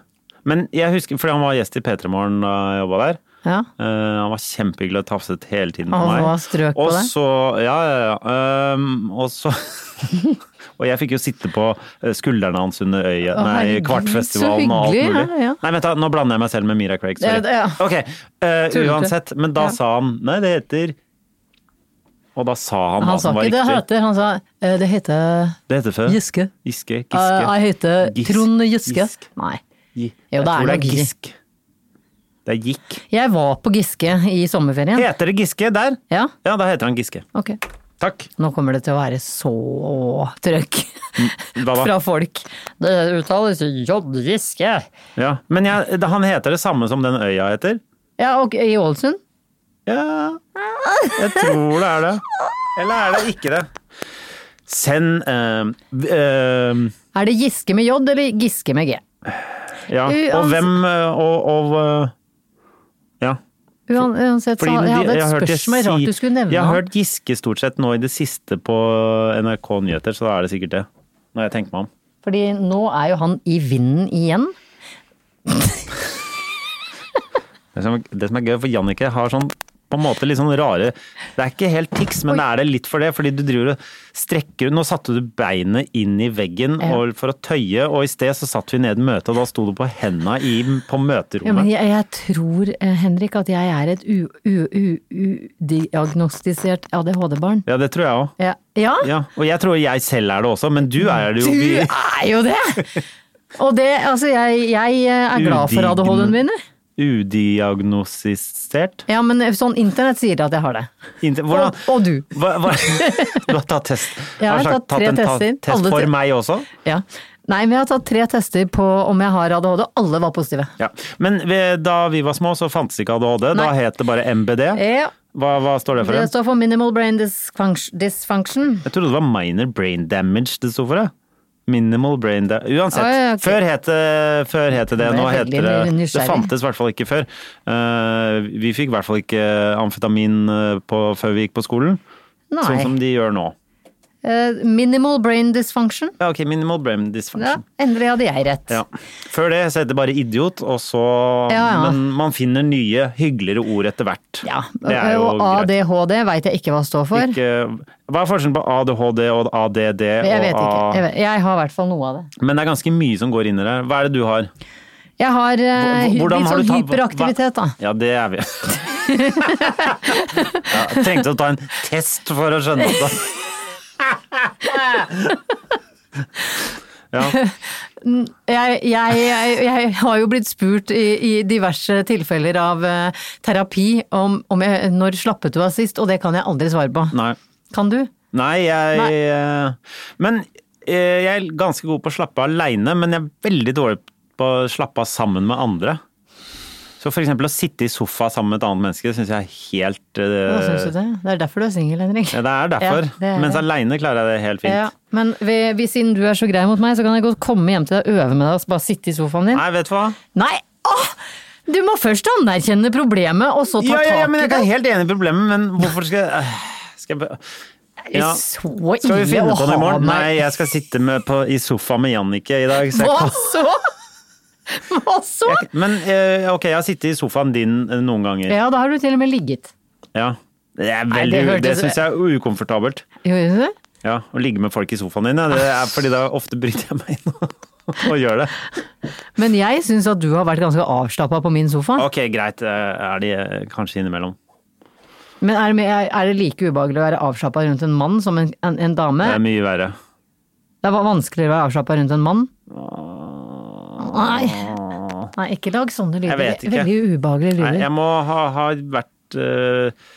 Men jeg husker, fordi han var gjest i P3 Morgen da jeg jobba der. Ja. Eh, han var kjempehyggelig og tafset hele tiden Han på meg. var strøk på og deg? Så, ja, ja, ja. Um, og så Og jeg fikk jo sitte på eh, skuldrene hans under øyet. Å, nei, herregud, kvartfestivalen så og alt hyggelig, mulig. ja, ja. Nei, vent da, nå blander jeg meg selv med Mira Craig. Sorry. Ja, det- ja. Ok, eh, Tullete. uansett. Men da Ja. sa han Nei, det heter Og da sa han, hva Han sa som var ikke det riktig. heter, han sa eh, det heter Det heter før. Giske. Giske. Giske. Eh, Jeg heter Gisk. Trond Giske. Gisk. Nei. Gi- Jo, jeg det er tror det nok er Gi- Gisk. Det er Gikk. Jeg var på Giske i sommerferien. Heter det Giske der? Ja, Ja, da heter han Giske. ok. Takk. Nå kommer det til å være så trøkk Mm. Hva da? fra folk. Det uttales J. Giske. Ja. Men jeg, det- han heter det samme som den øya heter? Ja, og i Ålesund? Ja Jeg tror det er det. Eller er det ikke det? Send eh, v- eh, Er det Giske med J eller Giske med G? Ja. Og hvem eh, Og, og eh, Ja. Uan- Uansett, så Fordi jeg de- hadde et har hørt de spørsmål si- rart du skulle nevne. Jeg har han. hørt Giske stort sett nå i det siste på NRK Nyheter, så da er det sikkert det. Når jeg tenker meg om. Fordi nå er jo han i vinden igjen. Det som, det som er gøy, for Jannicke har sånn på en måte litt sånn rare Det er ikke helt tics, men det er det litt for det, fordi du driver og strekker Nå satte du beinet inn i veggen Ja. og, for å tøye, og i sted så satt vi ned i møte, og da sto du på henda i, på Ja, men møterommet. jeg, jeg tror, eh, Henrik, at jeg er et u- u- u- udiagnostisert ADHD-barn. Ja, det tror jeg òg. Ja. ja? Ja, og jeg tror jeg selv er det også, men du er det jo. Du vi- er jo det! Og det, altså, jeg, jeg er glad for Udign- ADHD-en min. jeg. Udiagnostisert. Ja, men sånn internett sier at jeg har det. Inte- Og, Hvordan og du. hva, hva? Du har tatt test? Jeg har Har sagt- tatt tre en ta- tester. Test Alle for tre. meg også? Ja. Nei, men jeg har tatt tre tester på om jeg har ADHD, og alle var positive. Ja. Men vi, da vi var små, så fantes ikke ADHD. Da Nei. het det bare MBD. Ja. Hva, hva står det for? Det en? står for minimal brain dysfunction. dysfunction. Jeg trodde det var minor brain damage det sto for. det. Minimal brain da Uansett. Å, ja, ok. før, het det, før het det det, Nå nå ble jeg heter veldig det Det nysgjerrig. fantes i hvert fall ikke før. Eh, vi fikk i hvert fall ikke amfetamin eh, på, før vi gikk på skolen. Nei. Sånn som de gjør nå. Eh, minimal brain dysfunction. Ja, ok, minimal brain Ja, dysfunction. endelig hadde jeg rett. Ja. Før det så het det bare idiot, og så Ja, ja. Men man finner nye, hyggeligere ord etter hvert. Ja, Det er jo og greit. ADHD veit jeg ikke hva det står for. Ikke, hva er forskjellen på ADHD og ADD? jeg vet og ikke. A- Jeg, vet, jeg har i hvert fall noe av det. Men det er ganske mye som går inn i det. Hva er det du har? Jeg har eh, hy- Hvordan litt har sånn du tatt- hyperaktivitet, da. Ja, det er vi. ja, jeg trengte å ta en test for å skjønne det. ja. Jeg, jeg, jeg, jeg har jo blitt spurt i, i diverse tilfeller av eh, terapi om, om jeg, når slappet du av sist, og det kan jeg aldri svare på. Nei. Kan du? Nei, jeg Nei. eh, Men eh, jeg er ganske god på å slappe av aleine, men jeg er veldig dårlig på å slappe av sammen med andre. Så for eksempel å sitte i sofa sammen med et annet menneske syns jeg er helt eh, Hva syns du det? Det er derfor du er singel, Henrik. Ja, det er derfor. Ja, det er Mens det. aleine klarer jeg det helt fint. Ja, men vi- vi- siden du er så grei mot meg, så kan jeg godt komme hjem til deg og øve med deg og bare sitte i sofaen din. Nei, vet du hva? Nei! Åh! Du må først anerkjenne problemet, og så ta Ja, ja, ja, tak men i jeg det. er helt enig i problemet, men hvorfor skal jeg øh, Skal jeg bare- ja. Så Skal vi ille finne å på noe i ha morgen? meg. Nei, jeg skal sitte med på, i sofaen med Jannicke i dag. Så jeg Hva kan, så? Hva så? jeg, men øh, ok, jeg har sittet i sofaen din øh, noen ganger. Ja, da har du til og med ligget. Ja. Det er Nei, veldig, det hørtes- det syns jeg er ukomfortabelt. Gjorde du det? Ja, Å ligge med folk i sofaen din. Ja. Det er fordi da ofte bryter jeg meg inn og, og gjør det. Men jeg syns at du har vært ganske avslappa på min sofa. Ok, greit. øh, Er de øh, kanskje innimellom? Men er det, mer- er det like ubehagelig å være avslappa rundt en mann som en, en, en dame? Det er mye verre. Det var vanskeligere å være avslappa rundt en mann? Nei. Nei, ikke lag sånne lyder. Jeg vet Det er ikke. Veldig ubehagelige Nei, lyder. jeg må ha, ha vært øh,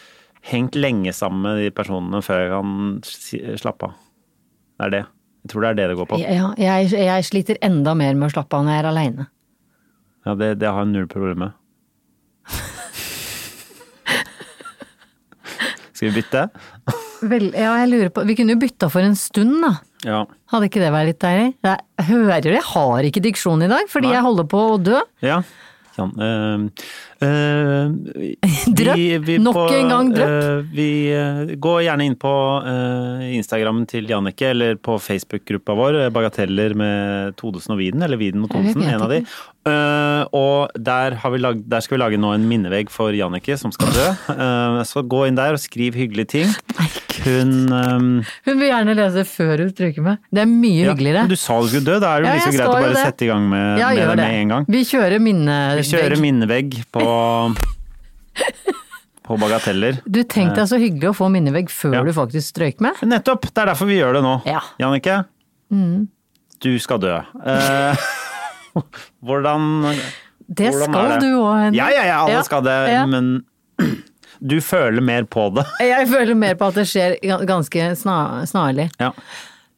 hengt lenge sammen med de personene før jeg kan si, slappe av. Det er det. Jeg tror det er det det går på. Ja, jeg, jeg sliter enda mer med å slappe av når jeg er aleine. Ja, det, det har jeg null problem med. Skal vi bytte? Ja, jeg lurer på Vi kunne jo bytta for en stund, da. Ja. Hadde ikke det vært litt deilig? Jeg hører det, jeg har ikke diksjon i dag, fordi Nei. jeg holder på å dø. ja. Jan, øh, øh, Drøpp. Nok en gang drøpp. øh, vi øh, går gjerne inn på øh, Instagrammen til Jannicke, eller på Facebook-gruppa vår, øh, Bagateller med Todesen og Viden, eller Viden mot Jeg vet Todesen, en av de. ikke. Øh, og der, har vi lag, der skal vi lage nå en minnevegg for Jannicke, som skal dø. Øh, så gå inn der og skriv hyggelige ting. Nei, Gud. Hun øh, Hun vil gjerne lese før hun stryker meg. Det er mye Ja, hyggeligere. men Du sa du skulle dø, da er det jo Ja, like greit jeg å skal jo bare det. sette i gang med, Ja, med gjør det det. med en gang. Vi kjører Vi kjører minnevegg. minnevegg på, på bagateller. Du tenk deg så hyggelig å få minnevegg før Ja. du faktisk strøyk meg. Nettopp! Det er derfor vi gjør det nå. Ja. Jannicke, Mm. du skal dø. Eh, hvordan Det Hvordan skal er det? du òg, Henrik. Ja, ja, ja, alle Ja, skal det, ja. men du føler mer på det. Jeg føler mer på at det skjer ga- ganske sna- snarlig. Ja.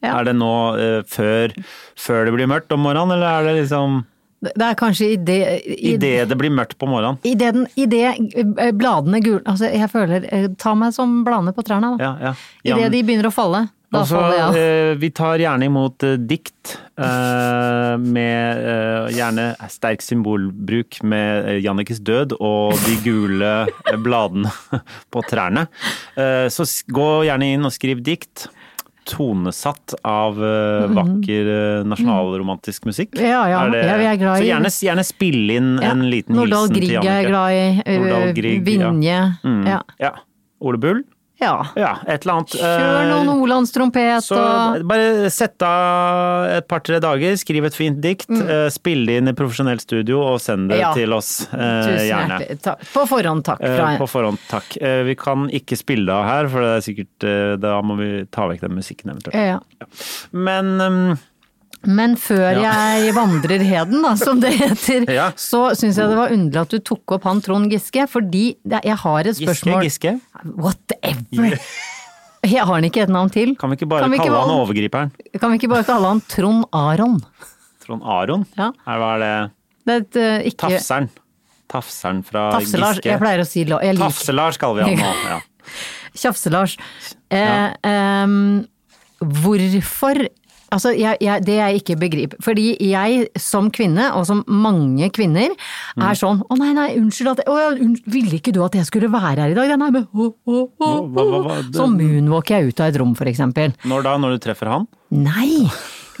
Ja. Er det nå eh, før, før det blir mørkt om morgenen, eller er det liksom Det det er kanskje i det i- idet det blir mørkt på morgenen? i det den- i det, eh, bladene gule Altså, jeg føler eh, Ta meg som bladene på trærne, da. Ja, ja. Idet Jan- de begynner å falle. Da Altså, faller jeg av. eh, vi tar gjerne imot eh, dikt eh, med eh, gjerne sterk symbolbruk med eh, Jannikes død og de gule eh, bladene på trærne. Eh, så s- gå gjerne inn og skriv dikt. Tonesatt av eh, vakker eh, nasjonalromantisk musikk. Mhm. Ja, ja. Er det- Ja, vi er glad i- Så gjerne, gjerne spille inn Ja. en liten Nordahl hilsen til Grieg er jeg Jannicke. glad i. eh, Nordahl Grieg, ja. Vinje. Ja. Mm. Ja. ja. Ole Bull? Ja, et eller annet. Kjør Eh, noen Olands trompet Så og bare sett av et par-tre dager, skriv et fint dikt, eh, spill det inn i profesjonelt studio og send det Mm. Ja. til oss. eh, Tusen gjerne. hjertelig takk. På forhånd takk Eh, fra På forhånd, takk. Eh, Vi kan ikke spille det av her, for det er sikkert eh, Da må vi ta vekk den musikken eventuelt. ja. Men ehm, Men før Ja. jeg vandrer heden, da, som det heter, Ja. så syns jeg det var underlig at du tok opp han Trond Giske, fordi det- jeg har et Giske, spørsmål Giske, Whatever! Jeg har han ikke et navn til? kan vi ikke bare Kan vi ikke kalle han bare- overgriperen? Kan vi ikke bare kalle han Trond Aron? Trond Aron? Ja. Er, hva er det? Det er et, eh, ikke Tafseren. Tafseren fra Tafselars. Jeg Giske. pleier å si lo- jeg liker Tafselars kaller vi han nå. Ja. Tjafse-Lars. Eh, ehm, hvorfor Altså, jeg, jeg, det jeg ikke begriper Fordi jeg som kvinne, og som mange kvinner, Mm. er sånn Å, nei, nei, unnskyld at jeg, Å, ja, unnskyld, Ville ikke du at jeg skulle være her i dag? Ja, nei, men å, å, å, å. Hva- hva- hva- det- Så moonwalker jeg ut av et rom, for eksempel. Når da? Når du treffer han? Nei!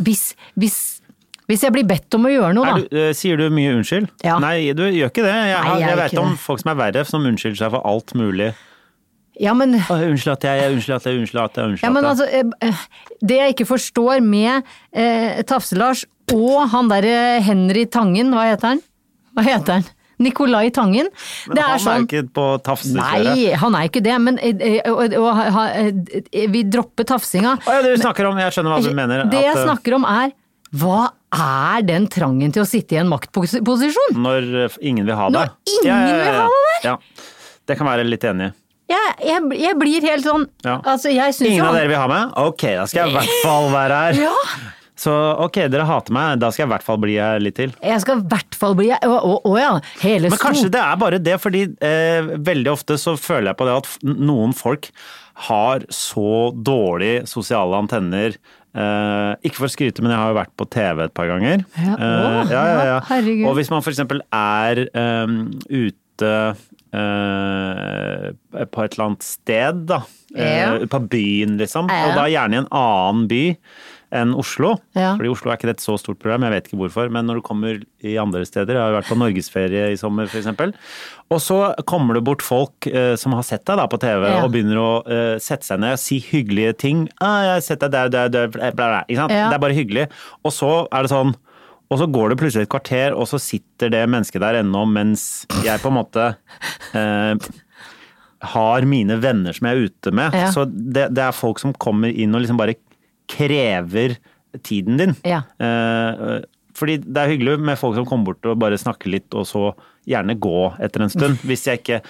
Hvis, hvis, hvis jeg blir bedt om å gjøre noe, Er da. du, eh, sier du mye unnskyld? Ja. Nei, du gjør ikke det. Jeg, har, Nei, jeg jeg, gjør vet ikke om det. folk som er verre, som unnskylder seg for alt mulig. Ja, men Å, unnskyld at jeg, jeg unnskyld at jeg, unnskyld at jeg, unnskyld Ja, men at jeg. altså, eh, eh, det jeg ikke forstår med eh, Tafse-Lars og han derre Henry Tangen, hva heter han? Hva heter han? Nikolai Tangen. det er han er sånn jo ikke på tafsesføre. Nei, han er ikke det, men eh, eh, og, og, ha- eh, vi dropper tafsinga. Å ja, det du snakker om, jeg skjønner hva du mener. det jeg at, eh, snakker om er hva er den trangen til å sitte i en maktposisjon? Når eh, ingen vil ha det. Når ingen vil ha det der! Ja. Det kan være litt enig i. Jeg, jeg, jeg blir helt sånn Ja. altså, jeg synes Ingen jo av han- dere vil ha meg? Ok, da skal jeg i hvert fall være her. Ja. Så ok, dere hater meg, da skal jeg i hvert fall bli her litt til. Jeg skal i hvert fall bli Å å- å ja, hele Men kanskje det er bare det, fordi eh, veldig ofte så føler jeg på det at f- noen folk har så dårlig sosiale antenner Eh, ikke for å skryte, men jeg har jo vært på TV et par ganger. Ja, Eh, å, ja, ja, ja. herregud. Og hvis man f.eks. er em, ute eh, på et eller annet sted, da. Ja. Eh, på byen, liksom. Ja. Og da gjerne i en annen by enn Oslo. Ja. Fordi Oslo er ikke et så stort program, jeg vet ikke hvorfor. Men når du kommer i andre steder, jeg har jo vært på norgesferie i sommer f.eks. Og så kommer det bort folk eh, som har sett deg da på TV Ja. og begynner å eh, sette seg ned og si hyggelige ting. Ah, 'Jeg har sett deg der, der, der, bla, bla, bla. Ikke sant? Ja. Det er bare hyggelig. Og så er det sånn og så går det plutselig et kvarter, og så sitter det mennesket der ennå mens jeg på en måte eh, har mine venner som jeg er ute med. Ja. Så det, det er folk som kommer inn og liksom bare krever tiden din. Ja. Eh, fordi det er hyggelig med folk som kommer bort og bare snakker litt, og så gjerne gå etter en stund. hvis jeg ikke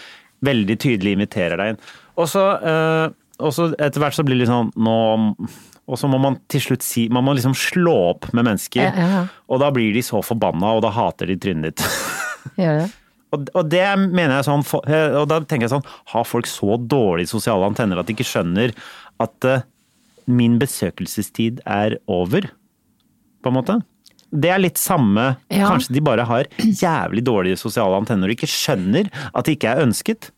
veldig tydelig inviterer deg inn. Og så, eh, og så etter hvert så blir det litt sånn nå Og så må man til slutt si Man må liksom slå opp med mennesker. Ja, ja, ja. Og da blir de så forbanna, og da hater de trynet ditt. Gjør det? Og, og det mener jeg sånn, for- eh, og da tenker jeg sånn, har folk så dårlige sosiale antenner at de ikke skjønner at eh, min besøkelsestid er over, på en måte? Det er litt samme, Ja. kanskje de bare har jævlig dårlige sosiale antenner og ikke skjønner at de ikke er ønsket.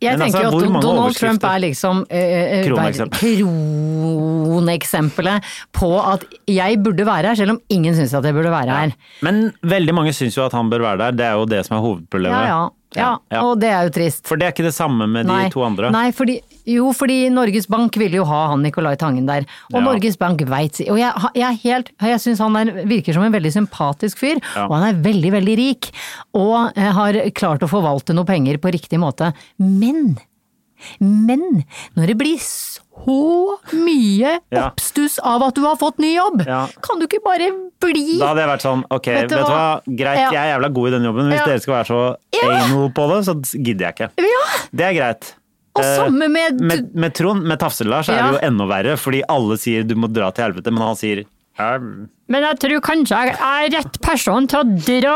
Jeg Men altså, tenker hvor jo mange at Donald overskrifter? Trump er liksom eh, eh, Kroneksempelet. ver- kroneksempelet på at jeg burde være her, selv om ingen syns at jeg burde være her. Men veldig mange syns jo at han bør være der, det er jo det som er hovedproblemet. Ja, ja. ja, Ja. Og det er jo trist. For det er ikke det samme med de to andre. Nei, fordi, jo, fordi Norges Bank ville jo ha han Nicolai Tangen der. Og Ja. Norges Bank veit Og jeg, har- jeg, er helt- jeg syns han er, virker som en veldig sympatisk fyr, Ja. og han er veldig, veldig rik. Og eh, har klart å forvalte noe penger på riktig måte. Men! Men! Når det blir så mye Ja. oppstuss av at du har fått ny jobb, Ja. kan du ikke bare bli Da hadde jeg vært sånn, ok, vet du hva, greit, Ja. jeg er jævla god i den jobben, men hvis Ja. dere skal være så anal på det, så gidder jeg ikke. Ja! Det er greit. Og Eh, samme med, Med, med Trond, med Tafse-Lars, er Ja. det jo enda verre, fordi alle sier du må dra til helvete, men han sier «Ehm». Men jeg tror kanskje jeg er rett person til å dra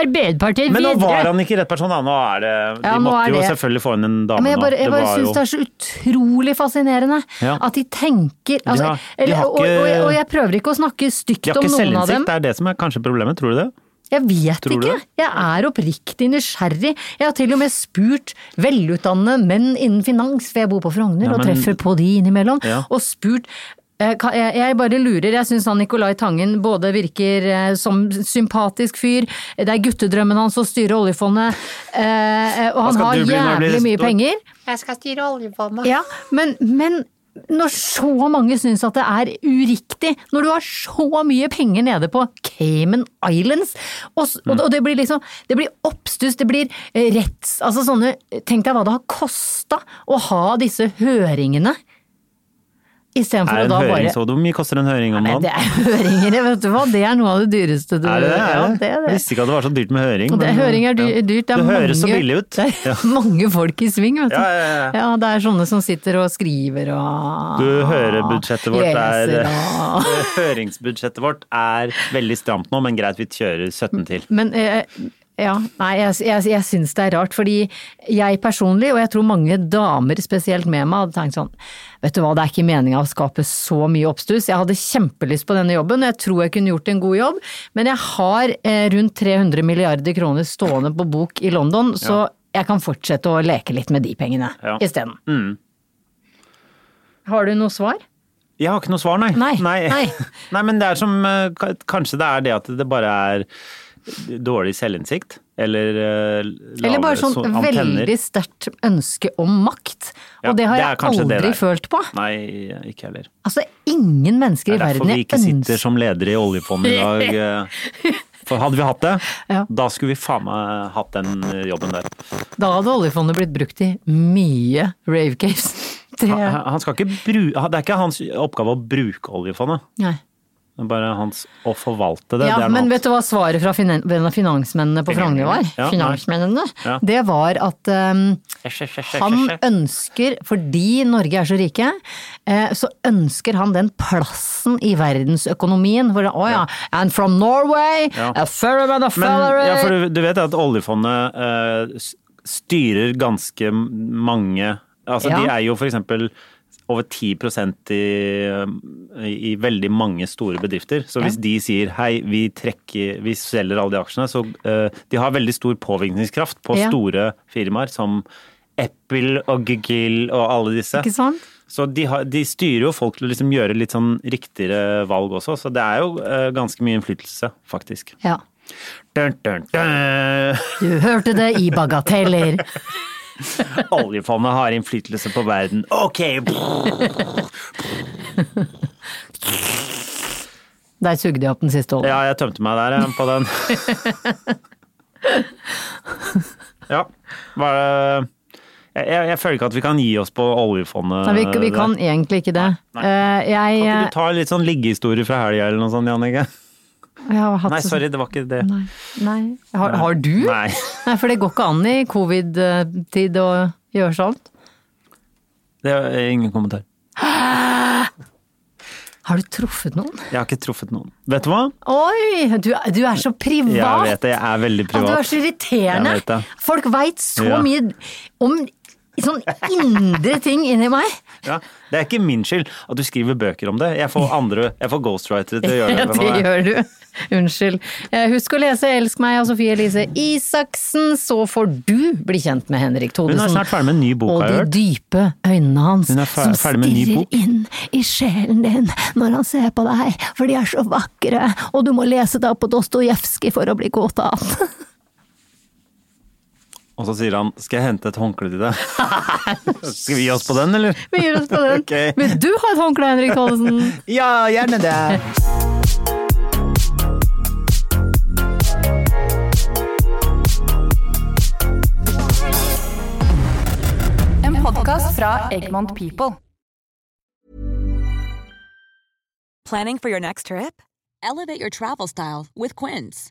Arbeiderpartiet Men nå var han ikke rett person, da. Nå er det, de Ja, nå måtte er jo det- selvfølgelig få inn en dame, men jeg bare, da. jeg bare var syns jo- det er så utrolig fascinerende Ja. at de tenker har- altså, de eller, har og, og, ikke- jeg- og jeg prøver ikke å snakke stygt de har om ikke noen av dem. selvinnsikt, det er det som er kanskje problemet, tror du det? Jeg vet Tror du ikke. det? Jeg er oppriktig nysgjerrig. Jeg har til og med spurt velutdannede menn innen finans, for jeg bor på Frogner Ja, og men- treffer på de innimellom, Ja. og spurt eh, ka- jeg jeg bare lurer. Jeg syns han Nicolai Tangen både virker eh, som sympatisk fyr, det er guttedrømmen hans å styre oljefondet, eh, eh, og han skal har du bli når du blir jævlig mye stor? penger. Jeg skal styre oljefondet. Ja, men, men når så mange syns at det er uriktig, når du har så mye penger nede på Cayman Islands, og, s- Mm. og, og det blir liksom Det blir oppstuss, det blir eh, retts... Altså sånne Tenk deg hva det har kosta å ha disse høringene. Er Istedenfor en å da høring, bare så hvor mye koster en høring om Nei, dagen? det er høringer, vet du hva. Det er noe av det dyreste du Er det det? Er Ja, det? det er det. Visste ikke at det var så dyrt med høring. Og det, men- høring er dy- Ja. dyrt. Det, er Det høres så mange- billig ut. Det er mange folk i sving, vet du. Ja, ja, ja. det er sånne som sitter og skriver og Du hører budsjettet vårt leser er og... Høringsbudsjettet vårt er veldig stramt nå, men greit, vi kjører 17 til. Men eh, ja, nei, jeg, jeg, jeg syns det er rart, fordi jeg personlig, og jeg tror mange damer spesielt med meg, hadde tenkt sånn Vet du hva, det er ikke meninga å skape så mye oppstuss. Jeg hadde kjempelyst på denne jobben, og jeg tror jeg kunne gjort en god jobb, men jeg har eh, rundt 300 milliarder kroner stående på bok i London, så jeg kan fortsette å leke litt med de pengene Ja. Mm. isteden. Har du noe svar? Jeg har ikke noe svar, nei. Nei, nei. Nei, men det er som eh, ka- Kanskje det er det at det bare er dårlig selvinnsikt? Eller eh, Eller lavere bare sånn so- antenner. veldig sterkt ønske om makt, Ja, og det har det er jeg kanskje det aldri det er. følt på. Nei, ikke heller. Altså, ingen mennesker Det i er derfor verden vi jeg ikke sitter ønsker som ledere i oljefondet i dag. eh. For hadde vi hatt det, Ja. da skulle vi faen meg hatt den eh, jobben der. Da hadde oljefondet blitt brukt i mye rave caves. Det Han, han skal ikke bru, det er ikke hans oppgave å bruke oljefondet, Nei. det er bare hans å forvalte det. Ja, det er noe men annet. vet du hva svaret fra finan- finansmennene på Frogner var? Ja, nei. Finansmennene. Ja. Det var at ehm, han ønsker, fordi Norge er så rike, eh, så ønsker han den plassen i verdensøkonomien. Hvor, det- å ja, and from Norway, Ja. a ferryman of Men Felloway. ja, for du, du vet at oljefondet eh, s- styrer ganske mange Altså Ja. de eier jo for eksempel over 10 i, eh, i veldig mange store bedrifter. Så hvis de sier hei, vi, trekker, vi selger alle de aksjene, så eh, de har veldig stor påvirkningskraft på Ja. store firmaer som Apple og Google og alle disse. Ikke sant? Så de, har, de styrer jo folk til å liksom gjøre litt sånn riktigere valg også, så det er jo eh, ganske mye innflytelse, faktisk. Ja. Dun, dun, dun. Du hørte det i bagateller. Oljefondet har innflytelse på verden. Ok! Der sugde jeg opp den siste oljen. Ja, jeg tømte meg der jeg, på den. Ja. Hva er det jeg, jeg, jeg føler ikke at vi kan gi oss på oljefondet. Nei, vi, vi kan egentlig ikke det. Eh, Jeg, Kan ikke du jeg ta litt sånn liggehistorie fra helga eller noe sånt, Jannicke? eh, har hatt Nei, så- sorry, det var ikke det. Nei. Nei. Har, har du? Nei. Nei, for det går ikke an i covid-tid å gjøre sånt. Det er ingen kommentar. Har du truffet noen? Jeg har ikke truffet noen. Vet du hva? Oi! Du, du er så privat! Jeg vet det, jeg er veldig At du er privat. så irriterende. Jeg vet det. Folk veit så Ja. mye om sånn indre ting inni meg. Ja, det er ikke min skyld at du skriver bøker om det. Jeg får andre, jeg får ghostwritere til å gjøre Ja, det. for det meg. gjør du. Unnskyld. Eh, Husk å lese 'Elsk meg' av Sofie Elise Isaksen, så får du bli kjent med Henrik Thodesen. Hun er snart ferdig med en ny bok, Og har jeg de hørt. dype øynene hans Hun er fer- som ferdig med en ny stirrer bok. inn i sjelen din når han ser på deg, for de er så vakre, og du må lese deg opp på Dostojevskij for å bli godtatt. Og så sier han 'skal jeg hente et håndkle til deg'? Skal vi gi oss på den, eller? Vi gir oss på den. Ok. Vil du ha et håndkle, Henrik Thodesen? Ja, gjerne det. En podkast fra Egmont People. Planning for your next trip? Elevate your travel style with Quince.